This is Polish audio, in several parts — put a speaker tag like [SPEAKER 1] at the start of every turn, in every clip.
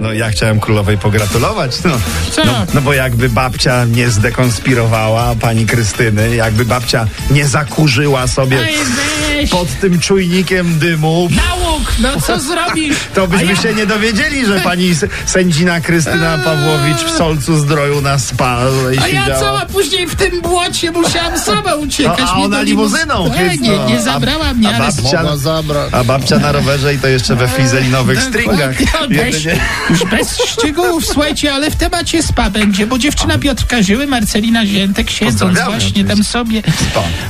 [SPEAKER 1] No ja chciałem królowej pogratulować. No,
[SPEAKER 2] Co?
[SPEAKER 1] no, no bo jakby babcia nie zdekonspirowała pani Krystyny, jakby babcia nie zakurzyła sobie
[SPEAKER 2] Ej, weź!
[SPEAKER 1] pod tym czujnikiem dymu,
[SPEAKER 2] Nałóg! No co zrobisz?
[SPEAKER 1] to byśmy
[SPEAKER 2] A ja-
[SPEAKER 1] się nie dowiedzieli, że pani s- sędzina Krystyna Pawłowicz w Solcu Zdroju na spa
[SPEAKER 2] A ja
[SPEAKER 1] siedziała.
[SPEAKER 2] cała później w tym błocie musiałam sama uciekać.
[SPEAKER 1] No, a
[SPEAKER 2] mi do
[SPEAKER 1] ona
[SPEAKER 2] limu-
[SPEAKER 1] limuzyną,
[SPEAKER 2] Tak,
[SPEAKER 1] więc
[SPEAKER 2] nie,
[SPEAKER 1] no,
[SPEAKER 2] nie
[SPEAKER 1] a-
[SPEAKER 2] zabrała
[SPEAKER 1] a
[SPEAKER 2] mnie, ale...
[SPEAKER 1] babcia-
[SPEAKER 3] Mogła zabrać.
[SPEAKER 1] A babcia na rowerze i to jeszcze we flizelinowych stringach.
[SPEAKER 2] Dokładnie, Bez,
[SPEAKER 1] Jedynie.
[SPEAKER 2] już bez szczegółów, słuchajcie, ale w temacie spa będzie, bo dziewczyna Piotrka Żyły, Marcelina Ziętek, siedząc
[SPEAKER 1] Pozdrawiamy
[SPEAKER 2] właśnie tam
[SPEAKER 1] oczywiście.
[SPEAKER 2] sobie,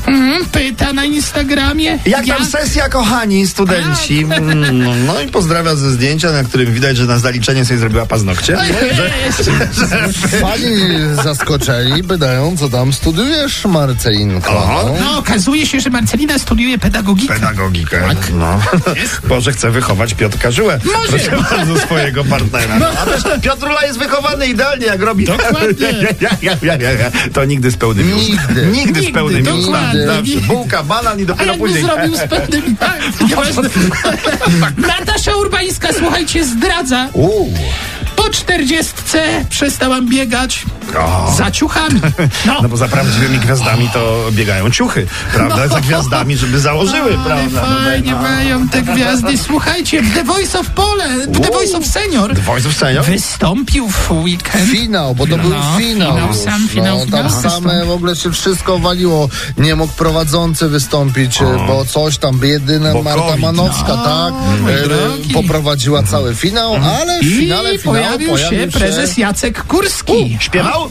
[SPEAKER 2] mm, pyta na Instagramie,
[SPEAKER 1] Jak tam sesja, kochani studenci?
[SPEAKER 2] Tak.
[SPEAKER 1] Mm, No i pozdrawia ze zdjęcia, na którym widać, że na zaliczenie sobie zrobiła paznokcie.
[SPEAKER 2] No
[SPEAKER 1] No
[SPEAKER 2] Jest.
[SPEAKER 3] Fani zaskoczeni, pytają, co tam studiujesz, Marcelinko.
[SPEAKER 1] O.
[SPEAKER 2] No, okazuje się, że Marcelina studiuje pedagogikę.
[SPEAKER 1] Pedagogikę. No. Boże, chce wychować Piotrka Żyłę.
[SPEAKER 2] Tak. Może.
[SPEAKER 1] Proszę bardzo, swojego partnera. No. A też Piotrula jest wychowany idealnie, jak robi.
[SPEAKER 2] Dokładnie.
[SPEAKER 1] Ja, ja, ja, ja, ja. To nigdy z pełnymi
[SPEAKER 3] Nigdy.
[SPEAKER 1] Nigdy, nigdy z
[SPEAKER 2] Nigdy,
[SPEAKER 1] pełnymi
[SPEAKER 2] dokładnie.
[SPEAKER 1] Zawsze bułka, banan i
[SPEAKER 2] A
[SPEAKER 1] dopiero
[SPEAKER 2] jakby
[SPEAKER 1] no później.
[SPEAKER 2] zrobił z pewnymi... Tak, nieważne. Natasza Urbańska, słuchajcie, zdradza.
[SPEAKER 1] Uuu.
[SPEAKER 2] Po czterdziestce przestałam biegać
[SPEAKER 1] O.
[SPEAKER 2] za ciuchami. No,
[SPEAKER 1] No bo za prawdziwymi gwiazdami to biegają ciuchy, prawda? Za gwiazdami, żeby założyły,
[SPEAKER 2] No. Ale
[SPEAKER 1] prawda? No,
[SPEAKER 2] fajnie mają te gwiazdy. Słuchajcie, The Voice of Pole, The
[SPEAKER 1] Uuu.
[SPEAKER 2] Voice of Senior
[SPEAKER 1] The Voice of Senior?
[SPEAKER 2] wystąpił w weekend.
[SPEAKER 3] Finał, bo to był
[SPEAKER 2] No,
[SPEAKER 3] finał.
[SPEAKER 2] finał,
[SPEAKER 3] już,
[SPEAKER 2] sam finał,
[SPEAKER 3] no, tam
[SPEAKER 2] finał.
[SPEAKER 3] same w ogóle się wszystko waliło. Nie mógł prowadzący wystąpić, e, bo coś tam, jedyna
[SPEAKER 1] Bo
[SPEAKER 3] Marta
[SPEAKER 1] COVID,
[SPEAKER 3] Manowska, tak,
[SPEAKER 2] mój
[SPEAKER 3] e,
[SPEAKER 2] drogi.
[SPEAKER 3] poprowadziła cały finał, ale w
[SPEAKER 2] I
[SPEAKER 3] finale finału
[SPEAKER 2] pojawił, się prezes Jacek Kurski.
[SPEAKER 1] Śpiewał?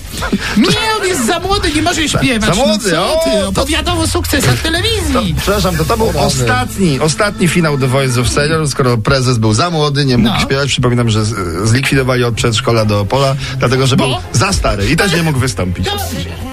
[SPEAKER 2] Nie, on jest za młody, nie może śpiewać.
[SPEAKER 1] za młody,
[SPEAKER 2] no, co ty,
[SPEAKER 1] o,
[SPEAKER 2] opowiadał o sukcesach telewizji.
[SPEAKER 1] Przepraszam, to, to był
[SPEAKER 3] Rany.
[SPEAKER 1] ostatni, ostatni finał The Voice of Senior, skoro prezes był za młody, nie mógł
[SPEAKER 2] No.
[SPEAKER 1] śpiewać. Przypominam, że z- zlikwidowali od przedszkola do Opola, dlatego że
[SPEAKER 2] Bo?
[SPEAKER 1] był za stary i też nie mógł wystąpić.
[SPEAKER 2] Dobrze.